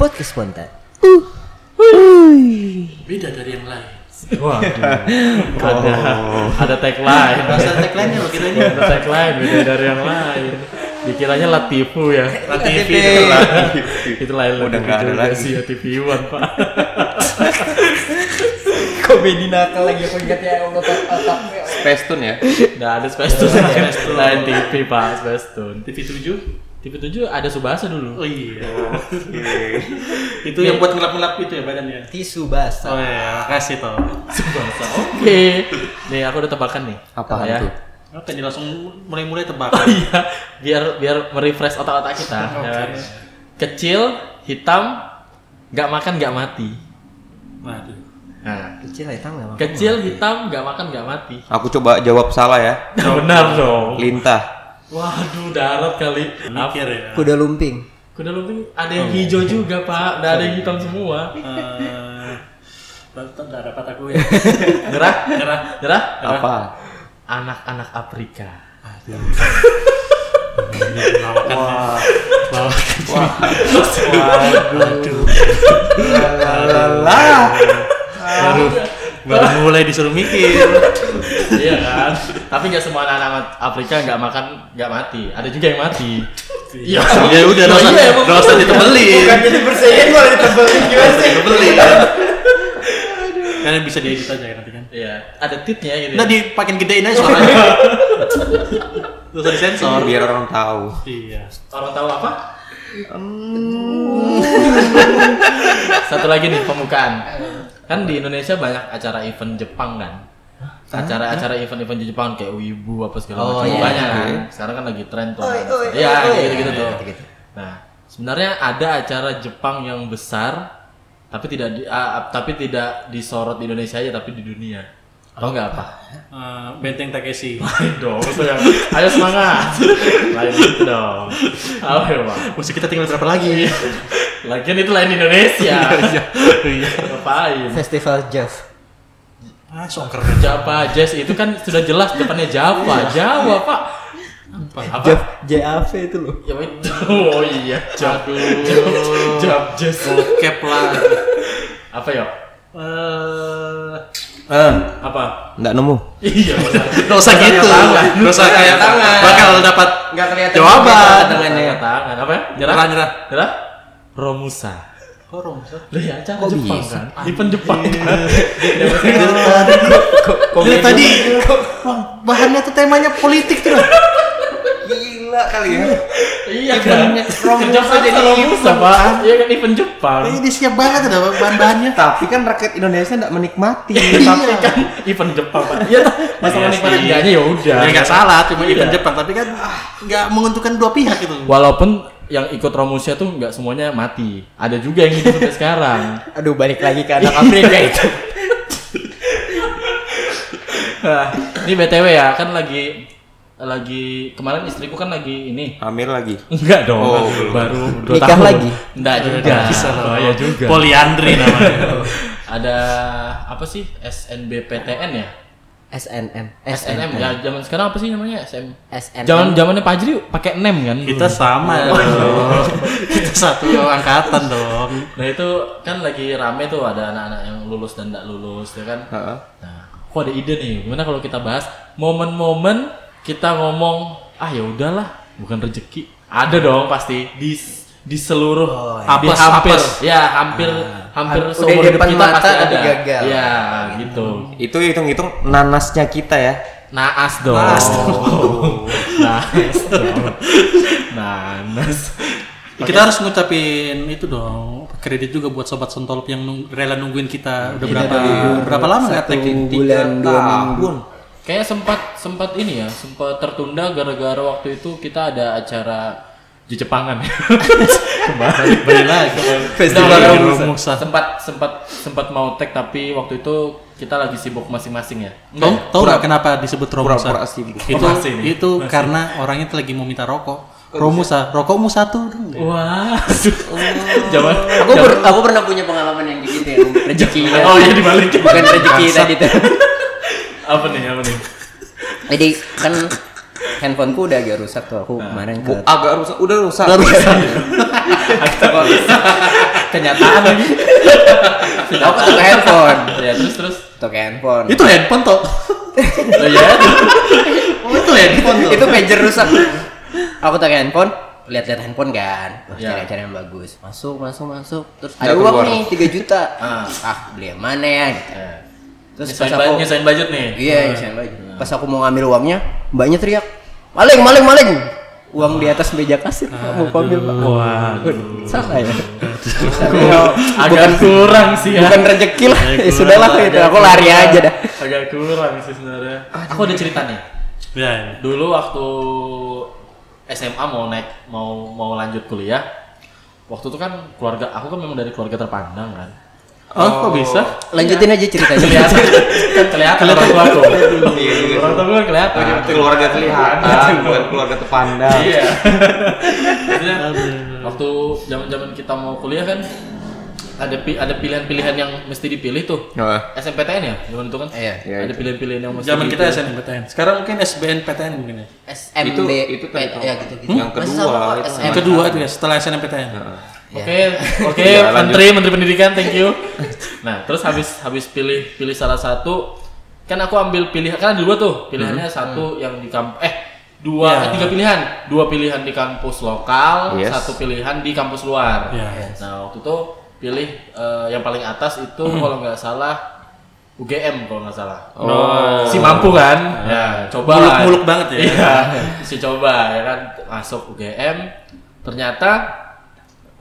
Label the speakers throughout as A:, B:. A: podcast spontan.
B: Beda dari yang lain.
C: Ada
D: Oh.
C: ada tagline.
B: Bahasa tagline-nya loh kita ini.
C: Ada tagline beda dari yang lain. Dikiranya Latifu ya.
B: TV
C: Itu lain
D: Udah nggak ada lagi.
C: sih ya TV One Pak.
A: Komedi nakal lagi aku ingat ya Allah otak
D: Space Tune ya.
C: Nggak ada Spestun.
B: Spacetoon.
C: Lain TV Pak, Spestun.
B: TV 7.
C: TV 7 ada Subasa dulu.
B: Oh iya. itu yang buat ngelap-ngelap itu ya badannya.
A: tisu basah.
B: Oh iya, kasih tau.
C: Subasa. Oke. Nih aku udah tebakan nih.
D: Apaan
C: Ya.
D: tuh?
B: Oke, Oh, jadi langsung mulai-mulai tebak.
C: Oh iya, biar biar merefresh otak-otak kita. ya kan? Kecil, hitam, nggak makan nggak mati.
B: Waduh.
C: Nah,
A: Kecil ya, hitam enggak
C: kecil, hitam, nggak makan nggak mati.
D: Aku coba jawab salah ya.
C: Benar dong.
D: Lintah.
C: Waduh, darat kali. Apa?
B: Mikir ya.
A: Kuda lumping.
C: Kuda lumping ada yang hijau juga pak, nggak ada yang hitam semua.
B: Eh, tetap nggak dapat aku ya.
C: Gerah,
B: Nyerah.
C: gerah.
D: Apa?
C: Anak-anak Afrika.
B: Wah. Wah. Baru baru mulai disuruh mikir.
C: iya kan. Tapi nggak semua anak-anak Afrika nggak makan nggak mati. Ada juga yang mati. Iya. ya?
B: Ya udah, nggak usah- nggak usah ditebelin.
A: jadi bersihin malah ditebelin
B: Iya,
A: gimana sih?
C: Iya,
B: Beli. Kalian bisa diedit aja ya nanti kan.
C: Iya. Ada tipnya gitu.
B: Nah, dipakin gedein aja suaranya. Terus usah disensor.
D: Biar orang tahu.
B: Iya.
C: Orang tahu apa? Hmm. Satu lagi nih pembukaan. Kan di Indonesia banyak acara event Jepang kan. Acara-acara event-event di Jepang kayak Wibu apa segala
A: Oh, iya,
C: macam banyak
A: iya.
C: kan. Sekarang kan lagi tren tuh.
A: Oi, oi,
C: Iya,
A: oi,
C: kayak
A: oi.
C: gitu-gitu tuh.
A: Gitu-gitu.
C: Nah, sebenarnya ada acara Jepang yang besar tapi tidak di, ah, tapi tidak disorot di Indonesia aja tapi di dunia. Tahu nggak apa?
B: Eh, Benteng Takeshi.
C: Lain dong, itu yang- ayo semangat. Lain itu dong. Apa ya, Pak?
B: Musik kita tinggal berapa lagi?
C: Lagian itu lain Indonesia.
B: Iya.
C: Ngapain?
A: Festival jazz.
B: Ah, songker aja.
C: Java Jazz itu kan sudah jelas depannya Java, Jawa pak. Apa? Apa?
A: Jazz JAV itu loh.
C: Ya itu. Oh iya, Java. Java Jazz.
B: Cap lah.
C: Apa ya?
B: Eh,
D: Eh,
B: apa?
D: nggak nemu.
C: Iya. masa?
B: Nggak usah gitu. Nggak usah kayak
A: tangan.
B: bakal dapat
A: Enggak kelihatan
B: jawaban.
A: tangannya.
C: Tangan, Tangan apa ya? Nyerah.
B: Nyerah, nyerah.
C: Nyerah? Romusa.
B: Korong.
C: Lah ya, acara
D: Kok
C: Jepang
D: bisa?
C: kan? Event Jepang kan?
B: Dia tadi
A: bahannya tuh temanya politik tuh. Gila kali ya.
C: Iya kan?
A: Eventnya
C: Kerja
A: Romusa
C: paksa
A: jadi
C: Romusa
A: event,
C: pak. Iya kan event Jepang.
B: ini dia siap banget ada bahan-bahannya. Ya,
D: Tapi kan rakyat Indonesia nggak menikmati.
C: Tapi kan event Jepang pak. Iya tuh. Masalah
B: Iya
C: nikmat
B: sih.
C: enggaknya ya
D: Iya,
C: udah.
D: kan?
B: Ya nggak salah, cuma event
C: Iya.
B: Jepang, tapi kan ah, nggak menguntungkan dua pihak gitu.
C: Walaupun yang ikut Romusia tuh nggak semuanya mati, ada juga yang hidup sampai sekarang.
A: Aduh balik lagi ke anak Afrika itu.
C: Nah, ini btw ya kan lagi lagi kemarin istriku kan lagi ini
D: Hamil lagi.
C: enggak dong
D: Oh,
C: baru dua
A: Nikah
C: tahun
A: lagi?
C: enggak juga
B: Nggak bisa loh.
C: Iya, bahaya juga
B: Poliandri namanya.
C: ada apa sih SNBPTN ya
A: SNM.
C: SNM ya zaman sekarang apa sih namanya SM
A: SNM.
C: zaman zamannya Pak Jiri pakai nem kan dulu.
B: Kita sama dong. Kita satu angkatan dong.
C: nah itu kan lagi rame tuh ada anak-anak yang lulus dan nggak lulus ya kan
D: Heeh.
C: Nah, aku ada ide nih. Gimana kalau kita bahas momen-momen kita ngomong, ah ya udahlah, bukan rezeki. Ada dong pasti di di seluruh Oh, di
B: Apes,
C: hampir
B: apes.
C: ya hampir hampir
A: Udah
C: seumur hidup
A: depan
C: kita
A: mata
C: pasti
A: tapi
C: ada.
A: gagal.
C: Ya, gitu.
D: Itu hitung-hitung nanasnya kita ya. Oh.
C: Naas dong. Naas dong. Naas dong. Nanas.
B: Ya, Kita harus ngucapin itu dong kredit juga buat sobat sentolop yang nung- rela nungguin
C: Iya,
B: kita udah berapa
D: Iya.
B: berapa lama nggak
A: Satu
B: tag-in? Tiga
A: bulan, dua
B: tahun.
C: Kayak sempat sempat ini ya, sempat tertunda gara-gara waktu itu kita ada acara Jejepangan. Kembali
B: Balik lagi
A: Festival
B: Dari
A: Romusa.
B: Romusa.
C: sempat sempat sempat mau tag tapi waktu itu kita lagi sibuk masing-masing ya.
B: Tahu tahu nggak kenapa disebut Romusa?
D: Pura-pura sibuk.
B: Itu
C: Oh, masih nih.
B: itu karena orangnya tuh lagi mau minta rokok. Romusa, rokokmu satu dong.
C: Wah. Jangan.
A: Aku per- aku pernah punya pengalaman yang kayak gitu ya, rezekinya.
C: Oh, iya, dibalik.
A: Bukan rezeki tadi tuh.
C: Apa nih? Apa nih?
A: Jadi kan handphoneku udah agak rusak tuh aku kemarin ke
D: Agak rusak, udah rusak.
A: Nggak rusak. kenyataan lagi. Tahu kan tuh handphone.
C: ya terus terus
A: Tuh handphone.
B: Itu handphone toh.
C: oh Eh, ya
B: itu handphone toh.
A: itu pager rusak aku tak handphone lihat-lihat handphone kan terus
C: Ya.
A: cari-cari yang bagus masuk masuk masuk terus ada
D: Nggak
A: uang
D: keluar.
A: nih 3 juta
C: Ah.
A: ah beli yang mana ya gitu. terus
C: terus
A: pas
C: nyusahin,
A: aku
C: ba- nyusahin budget nih
A: iya nyusahin baju. pas aku mau ngambil uangnya mbaknya teriak maling maling maling uang di atas meja kasir Pak. mau ambil Pak.
B: Waduh.
A: salah ya Salah.
C: agak
A: bukan
C: kurang sih ya
A: bukan rezeki lah
B: Agak
A: ya sudahlah
C: Kurang,
A: itu
C: agak
A: aku lari
C: kurang.
A: aja dah
C: agak kurang sih sebenarnya aku ada cerita nih
B: Ya, ya.
C: dulu waktu SMA mau naik mau mau lanjut kuliah waktu itu kan keluarga aku kan memang dari keluarga terpandang kan
B: Oh, kok bisa?
A: lanjutin aja ceritanya
C: kelihatan kan kelihatan orang tua aku
D: Iya, iya.
C: orang tua aku kan kelihatan
D: Itu keluarga kelihatan,
B: Iya.
D: bukan keluarga terpandang.
C: iya Maksudnya,
B: Iya.
C: waktu zaman zaman kita mau kuliah kan ada pi- ada pilihan-pilihan yang mesti dipilih tuh
D: Heeh.
C: SNPTN ya zaman itu kan
A: Iya,
D: iya,
C: ada
D: itu.
C: pilihan-pilihan yang mesti
B: Zaman kita
C: dipilih.
B: SNMPTN. Sekarang mungkin SBNPTN mungkin ya.
A: SMB
D: Itu- itu tadi tuh.
A: ya gitu gitu
D: Hmm? Yang kedua, itu.
B: Yang kedua itu ya setelah SNMPTN.
C: Oke, oke,
D: Ya, lanjut.
C: menteri, menteri pendidikan, thank you. Nah, terus habis habis pilih pilih salah satu, kan aku ambil pilihan kan ada dua tuh pilihannya satu yang di kamp eh dua
B: Ya.
C: eh, tiga pilihan, dua pilihan di kampus lokal,
D: Yes.
C: satu pilihan di kampus luar.
B: Ya.
C: Nah waktu itu pilih eh, yang paling atas itu kalau nggak salah UGM kalau nggak salah.
B: Oh.
C: Si mampu kan? Ya, coba lah.
B: Muluk-muluk banget ya.
C: Iya, si coba ya kan masuk UGM. Ternyata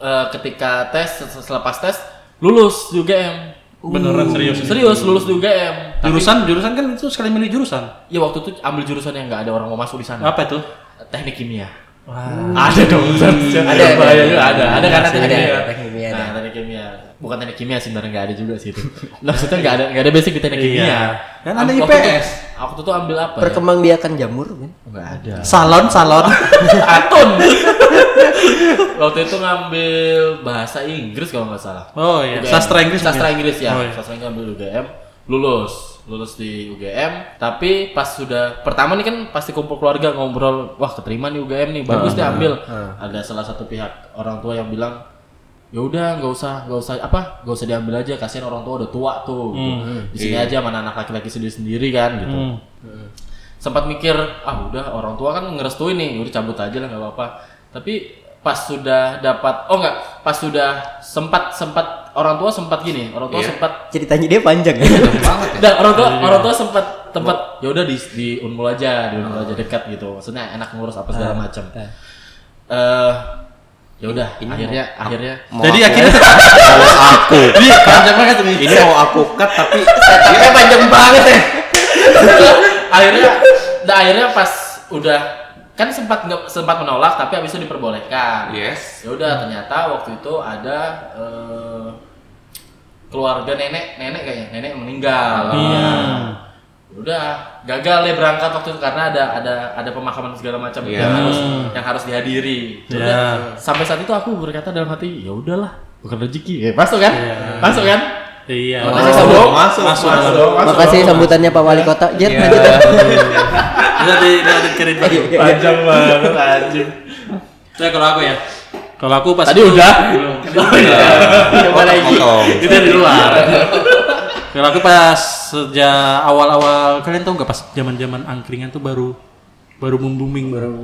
C: eh, ketika tes se- selepas tes lulus di UGM.
B: Uh. Beneran serius ini?
C: Serius lulus di UGM. Tapi-
B: Jurusan jurusan kan itu sekali milih jurusan.
C: ya waktu itu ambil jurusan yang nggak ada orang mau masuk di sana.
B: Apa Hmm. itu? Ah,
C: Teknik kimia.
B: Wah.
C: Ada dong, Zan.
A: Ada,
C: Ada,
A: ada,
C: bahaya juga ada.
A: ada.
C: Ada kan
A: Ada,
C: teknik
A: ada,
D: iya.
C: kimia.
A: ada teknik kimia,
C: Nah,
A: ada.
C: teknik kimia. Bukan teknik kimia sih, sebenarnya nggak ada juga sih itu. Maksudnya nggak ada nggak ada basic di teknik
B: Iya.
C: kimia.
B: Dan ada
C: Waktu itu-
B: IPS.
C: Waktu itu ambil apa? ya?
A: perkembang biakan jamur kan
C: Nggak ada.
B: Salon salon.
C: Atun. Waktu itu ngambil bahasa Inggris kalau nggak salah.
B: Oh iya,
C: UGM.
B: sastra Inggris.
C: Sastra
B: mungkin?
C: Inggris ya.
B: Oh, iya.
C: Sastra Inggris ambil UGM, lulus lulus di UGM tapi pas sudah pertama nih kan pasti kumpul keluarga ngobrol wah keterima nih UGM nih
B: Ah,
C: bagus deh ambil ada salah satu pihak orang tua yang bilang ya udah nggak usah nggak usah apa nggak usah diambil aja kasihan orang tua udah tua tuh gitu. di sini aja mana anak laki-laki sendiri sendiri kan gitu
B: Iya. Hmm.
C: sempat mikir ah udah orang tua kan ngerestuin nih udah cabut aja lah nggak apa-apa tapi pas sudah dapat oh nggak pas sudah sempat sempat orang tua sempat gini orang tua sempat
A: ceritanya dia panjang ya
C: dan orang tua orang tua sempat tempat ya udah di di unmul aja di unmul aja dekat gitu maksudnya enak ngurus apa segala macam eh ya udah akhirnya akhirnya
B: Jadi akhirnya
D: Kalau aku,
B: ini Iya, panjang banget ini.
D: ini mau aku cut tapi
A: tapi panjang banget ya
C: akhirnya nah, akhirnya pas udah kan sempat nggak sempat menolak tapi habis itu diperbolehkan
D: yes.
C: ya udah ternyata waktu itu ada eh, keluarga nenek nenek kayaknya nenek yang meninggal Ya udah gagal deh berangkat waktu itu karena ada ada ada pemakaman segala macam
D: Iya.
C: yang harus yang harus dihadiri Ya
B: Iya.
C: udah, sampai saat itu aku berkata dalam hati ya udahlah bukan rezeki Eh, masuk kan masuk kan
B: Iya.
C: Makasih, Sobo.
D: masuk,
B: Masuk.
C: dong, masuk
A: makasih
C: dong.
A: sambutannya pak wali kota jet lanjut ya.
D: Iya.
B: Bisa di dari kirim lagi.
C: panjang banget anjing
B: Ya kalau aku ya. Kalau aku pas
C: tadi
B: itu-
C: udah
B: Oh, iya.
C: coba lagi
D: Potong.
B: itu dari luar kalau aku pas sejak awal-awal kalian tau nggak pas zaman-zaman angkringan tuh baru baru booming baru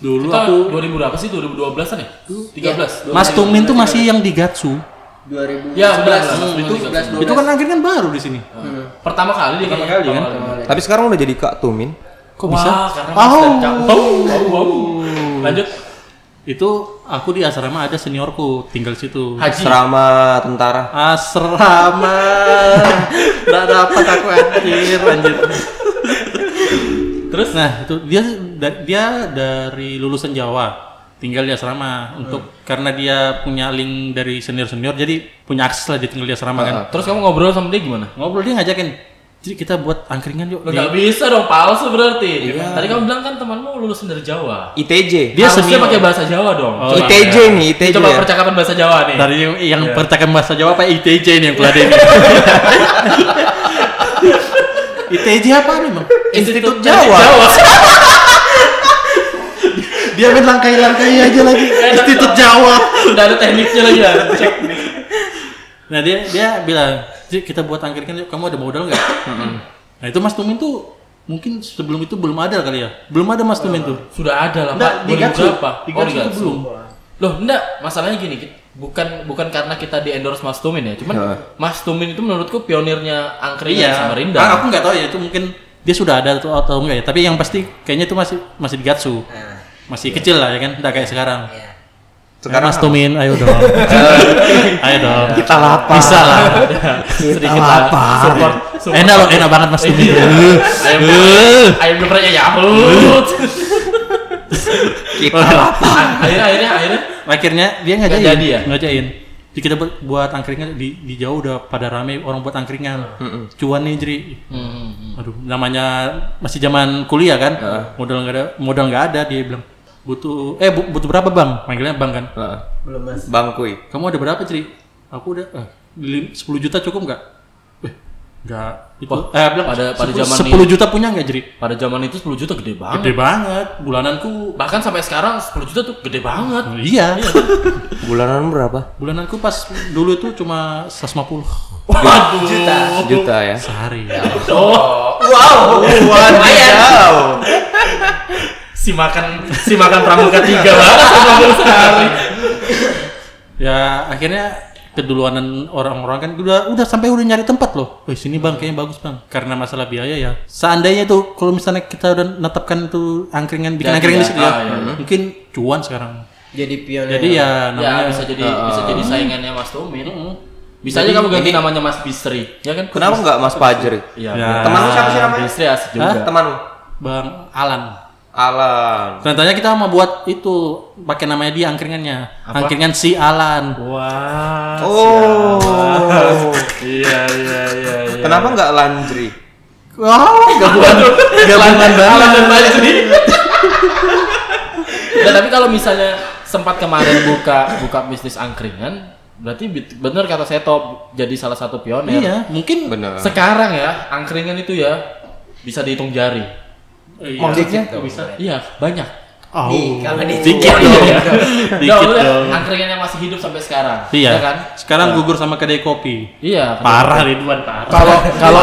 B: dulu
C: Kita
B: aku
C: 2000 berapa sih 2012an ya
B: Iya.
C: 13
B: Mas Tungmin tuh masih yang di Gatsu
A: 2000
C: ya 11
A: itu 11
B: itu kan angkringan baru di sini
C: pertama kali dia pertama kali kan
D: Tapi sekarang udah jadi Kak Tumin.
B: kok bisa
C: karena
B: Au.
C: Mas Dancang. Au, au, au. lanjut
B: itu aku di asrama ada seniorku tinggal situ
C: haji
D: Asrama tentara.
B: asrama nggak dapat aku anjir anjir terus nah itu dia da- dia dari lulusan Jawa tinggal di asrama untuk karena dia punya link dari senior senior jadi punya akses lah dia tinggal di asrama kan
C: terus kamu ngobrol sama dia gimana
B: ngobrol dia ngajakin jadi kita buat angkringan yuk
C: Lo
B: Di-
C: nggak bisa dong palsu berarti. Tadi kamu bilang kan temanmu lulusan dari Jawa.
B: Iya.
D: ITJ.
B: Dia
C: Harusnya
B: senior.
C: pakai bahasa Jawa dong.
B: Oh,
C: Coba.
D: ITJ nih, ITJ.
C: Coba
D: ya.
C: percakapan bahasa Jawa nih.
B: dari yang percakapan bahasa Jawa apa ITJ nih yang peladen ITJ apa memang Institut Jawa. dia main langkai-langkai aja lagi Institut Jawa
C: Udah ada tekniknya lagi ya. Cek nih.
B: Nah dia dia bilang, "Ji, kita buat angkringan yuk, kamu ada modal nggak? nah itu Mas Tumin tuh mungkin sebelum itu belum ada kali ya, belum ada Mas Tumin tuh.
C: Sudah ada lah
B: Nggak,
C: Pak.
B: di Gatsu.
C: berapa?
B: Di Gatsu itu belum.
C: Loh, enggak. Masalahnya gini, ki- bukan bukan karena kita di endorse Mas Tumin ya, cuman Mas Tumin itu menurutku pionirnya angkringan
B: Iya.
C: Samarinda.
B: Ah, aku nggak tahu ya itu mungkin dia sudah ada atau atau enggak ya. Tapi yang pasti kayaknya itu masih masih di Gatsu. Masih kecil lah ya kan, nggak kayak sekarang. Sekarang
D: Iya.
B: Mas Tumin, ayo dong. ayo dong. Iya. Kita lapar. Bisa lah.
C: sedikit lah support, support.
B: Enak loh, enak banget Mas Tumin.
C: ayam
B: Eh.
C: ayam gepreknya ya
D: Kita lapar.
C: akhirnya akhirnya akhirnya
B: Akhirnya dia ngajain.
C: Nggak jadi ya?
B: Ngajain. Jadi kita buat, buat angkringan di, di jauh udah pada rame orang buat angkringan. Cuan nih jadi.
C: Hmm.
B: Aduh, namanya masih zaman kuliah kan. Modal nggak ada, modal nggak ada dia bilang. Butuh eh bu- butuh berapa, Bang? Panggilnya Bang kan.
A: belum mas
D: Bang Kuy.
B: Kamu ada berapa, Ciri? Aku udah eh, lim- 10 juta cukup nggak? Eh, nggak. Itu eh bilang
C: pada- pada
B: 10
C: zaman
B: 10 juta punya nggak, Ciri?
C: pada zaman itu 10 juta gede banget
B: Gede banget. Bulananku
C: bahkan sampai sekarang 10 juta tuh gede banget
B: Iya.
D: Bulanan berapa?
B: Bulananku pas dulu itu cuma 150
C: waduh juta
D: Juta ya.
B: sehari.
C: lumayan si makan si makan pramuka tiga banget sama sekali
B: ya akhirnya keduluanan orang-orang kan udah udah sampai udah nyari tempat loh. Wih sini bang kayaknya bagus bang. Karena masalah biaya ya. Seandainya tuh kalau misalnya kita udah netapkan itu angkringan bikin
C: Jadi
B: angkringan
C: ya,
B: di situ ya,
C: ah, iya.
B: mungkin cuan sekarang.
A: jadi pionir
B: Jadi ya
C: ya
B: namanya Eh,
C: bisa jadi bisa jadi saingannya mas Tomin bisa aja kamu ganti namanya mas Bisri ya kan
D: Kenapa nggak Mas Pajer?
C: Iya.
B: Ya.
D: Teman lu siapa sih namanya?
C: Bisri asik
D: Hah?
C: juga
D: Teman lu?
B: Bang Alan.
D: Alan.
B: Ternyata kita mau buat itu pakai namanya dia angkringannya. Angkringan si Alan.
C: wah
D: Oh.
C: iya iya iya iya
D: Kenapa nggak Landry?
B: Wow, gabungan gabungan
C: Alan
B: banget.
C: dan Bali sendiri. Nah, tapi kalau misalnya sempat kemarin buka buka bisnis angkringan, berarti bit- bener kata Seto jadi salah satu pionir.
B: Iya, mungkin
D: Bener.
C: Sekarang ya, angkringan itu ya bisa dihitung jari.
B: Iya.
A: Ojeknya?
C: bisa. Iya, banyak.
B: Oh.
A: Nih, kalau di-
B: dikit
C: Iya,
B: dong.
C: iya. Nah,
B: Dikit
C: maksudnya
B: dong.
C: Angkringan yang masih hidup sampai sekarang.
B: Iya.
C: ya kan?
B: Sekarang gugur sama kedai kopi.
C: Iya.
B: Parah Ridwan, parah.
C: Kalau kalau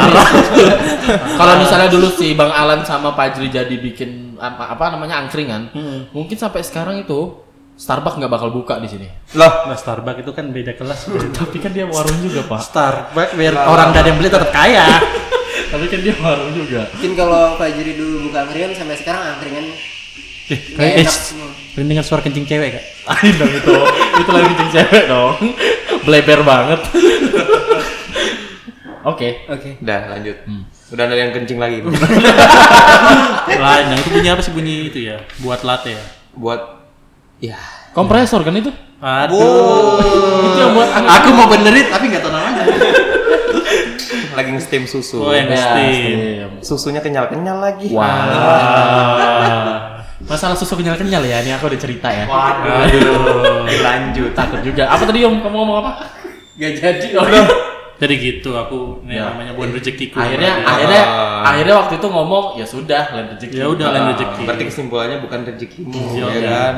C: kalau misalnya dulu si Bang Alan sama Pajri jadi bikin apa, apa namanya angkringan,
B: Hmm.
C: mungkin sampai sekarang itu Starbucks nggak bakal buka di sini.
D: Loh,
B: Nah, Starbucks itu kan beda kelas.
C: Tapi kan dia warung juga pak.
B: Starbucks biar orang dari yang beli tetap kaya.
C: Tapi kan dia warung juga.
A: mungkin kalau Pak Jiri dulu buka angkringan sampai sekarang angkringan
B: eh,
A: Nggak
B: kayak- eh,
A: enak
B: shh,
A: semua.
B: dengan suara kencing cewek, Kak.
C: Ayo dong itu, itu lagi kencing cewek dong. Bleber banget. Oke.
A: oke
D: udah lanjut. Udah ada yang kencing lagi.
B: Lain, yang itu bunyi apa sih bunyi itu ya? Buat latte ya.
D: Buat ya.
C: Kompresor kan itu?
B: Aduh.
C: Itu yang buat angin.
B: Aku mau benerin tapi nggak tahu namanya.
D: Lagi nge-steam susu.
B: Oh, yang
C: Ya,
B: steam.
C: steam.
D: Susunya kenyal-kenyal lagi.
B: Ah.
C: Wah. Masalah susu kenyal-kenyal ya, ini aku udah cerita ya.
D: Aduh. Dilanjut.
C: Takut juga. Apa tadi Om? Kamu ngomong apa?
A: gak jadi
B: Jadi gitu aku ini
C: Ya.
B: namanya bukan rezekiku.
C: Akhirnya,
B: Berarti.
C: akhirnya, akhirnya waktu itu ngomong ya sudah, lain rezeki.
B: ya udah lain
C: Ah.
B: rezeki.
D: Berarti kesimpulannya bukan rezekimu,
B: Iya,
D: ya
B: iya.
D: kan?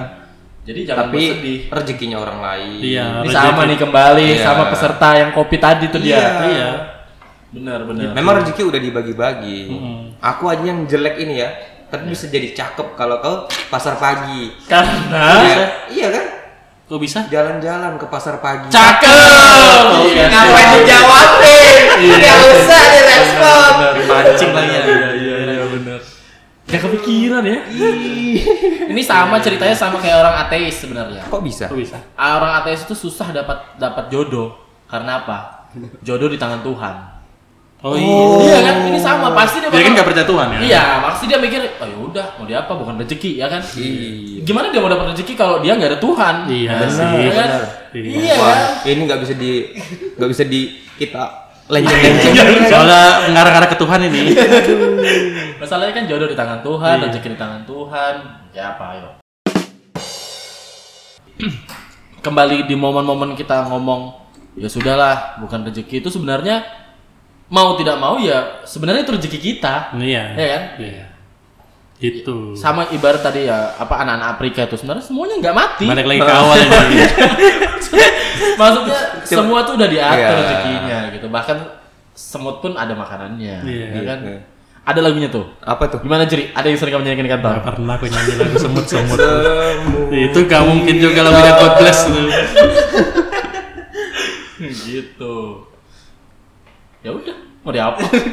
C: Jadi jangan
D: Tapi
C: bersedih.
D: rezekinya orang lain.
B: Iya.
C: Ini
B: rezeki.
C: sama nih kembali
D: Iya.
C: sama peserta yang kopi tadi tuh dia.
B: Iya.
C: Benar, benar.
D: Memang rezeki udah dibagi-bagi. Aku aja yang jelek ini ya, tapi bisa jadi cakep kalau ke pasar pagi.
C: Karena
D: Iya, iya kan?
B: Kok bisa?
D: Jalan-jalan ke pasar pagi.
C: cakep.
A: Iya, ngapain dijawabin nggak usah direspon
D: Mancing lagi ya.
C: Iya, iya, benar. Gak kepikiran ya. Ini sama ceritanya sama kayak orang ateis sebenarnya.
D: Kok bisa?
B: Kok bisa?
C: Orang ateis itu susah dapat dapat jodoh. Karena apa? Jodoh di tangan Tuhan.
B: Oh iya.
C: Iya kan? Ini sama pasti dia
B: Dia kan
C: bakal-
B: nggak percaya Tuhan ya.
C: Iya, pasti dia mikir, oh yaudah mau dia apa? Bukan rezeki ya kan?
D: Iya.
C: Gimana dia mau dapat rezeki kalau dia nggak ada Tuhan?
B: Iya
C: Ya
B: sih.
C: kan?
B: benar.
C: Iya.
D: Wah,
C: kan?
D: ini nggak bisa di nggak bisa di kita lenceng-lenceng.
B: Soalnya mengarah-arah ke Tuhan ini.
C: Masalahnya kan jodoh di tangan Tuhan,
B: Iya.
C: rezeki di tangan Tuhan. Ya apa ayo. Kembali di momen-momen kita ngomong ya sudahlah, bukan rezeki itu sebenarnya mau tidak mau ya sebenarnya itu rezeki kita.
B: Iya.
C: Iya kan?
B: Iya. Gitu.
C: Sama ibarat tadi ya apa anak-anak Afrika itu sebenarnya semuanya nggak mati.
B: Balik lagi ke awal ini.
C: Maksudnya semua tuh udah diatur
D: Iya.
C: rezekinya gitu. Bahkan semut pun ada makanannya.
B: Iya.
C: ya kan?
D: Iya.
C: Ada lagunya tuh.
D: Apa tuh?
C: Gimana Jeri? Ada yang sering kamu nyanyikan di kantor?
B: Gak pernah aku nyanyi lagu semut-semut.
D: Temu.
B: itu gak mungkin juga kalau tidak God bless lu.
C: gitu. Ya udah, mau diapa? ya,
D: Eh,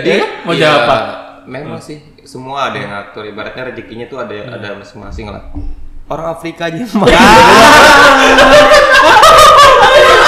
D: Jadi
C: ya
D: iya, Hmm.
C: kan? mau jawab apa?
D: Memang sih semua ada yang ngatur. Ibaratnya rezekinya tuh ada ada masing-masing lah. Orang Afrika aja mah.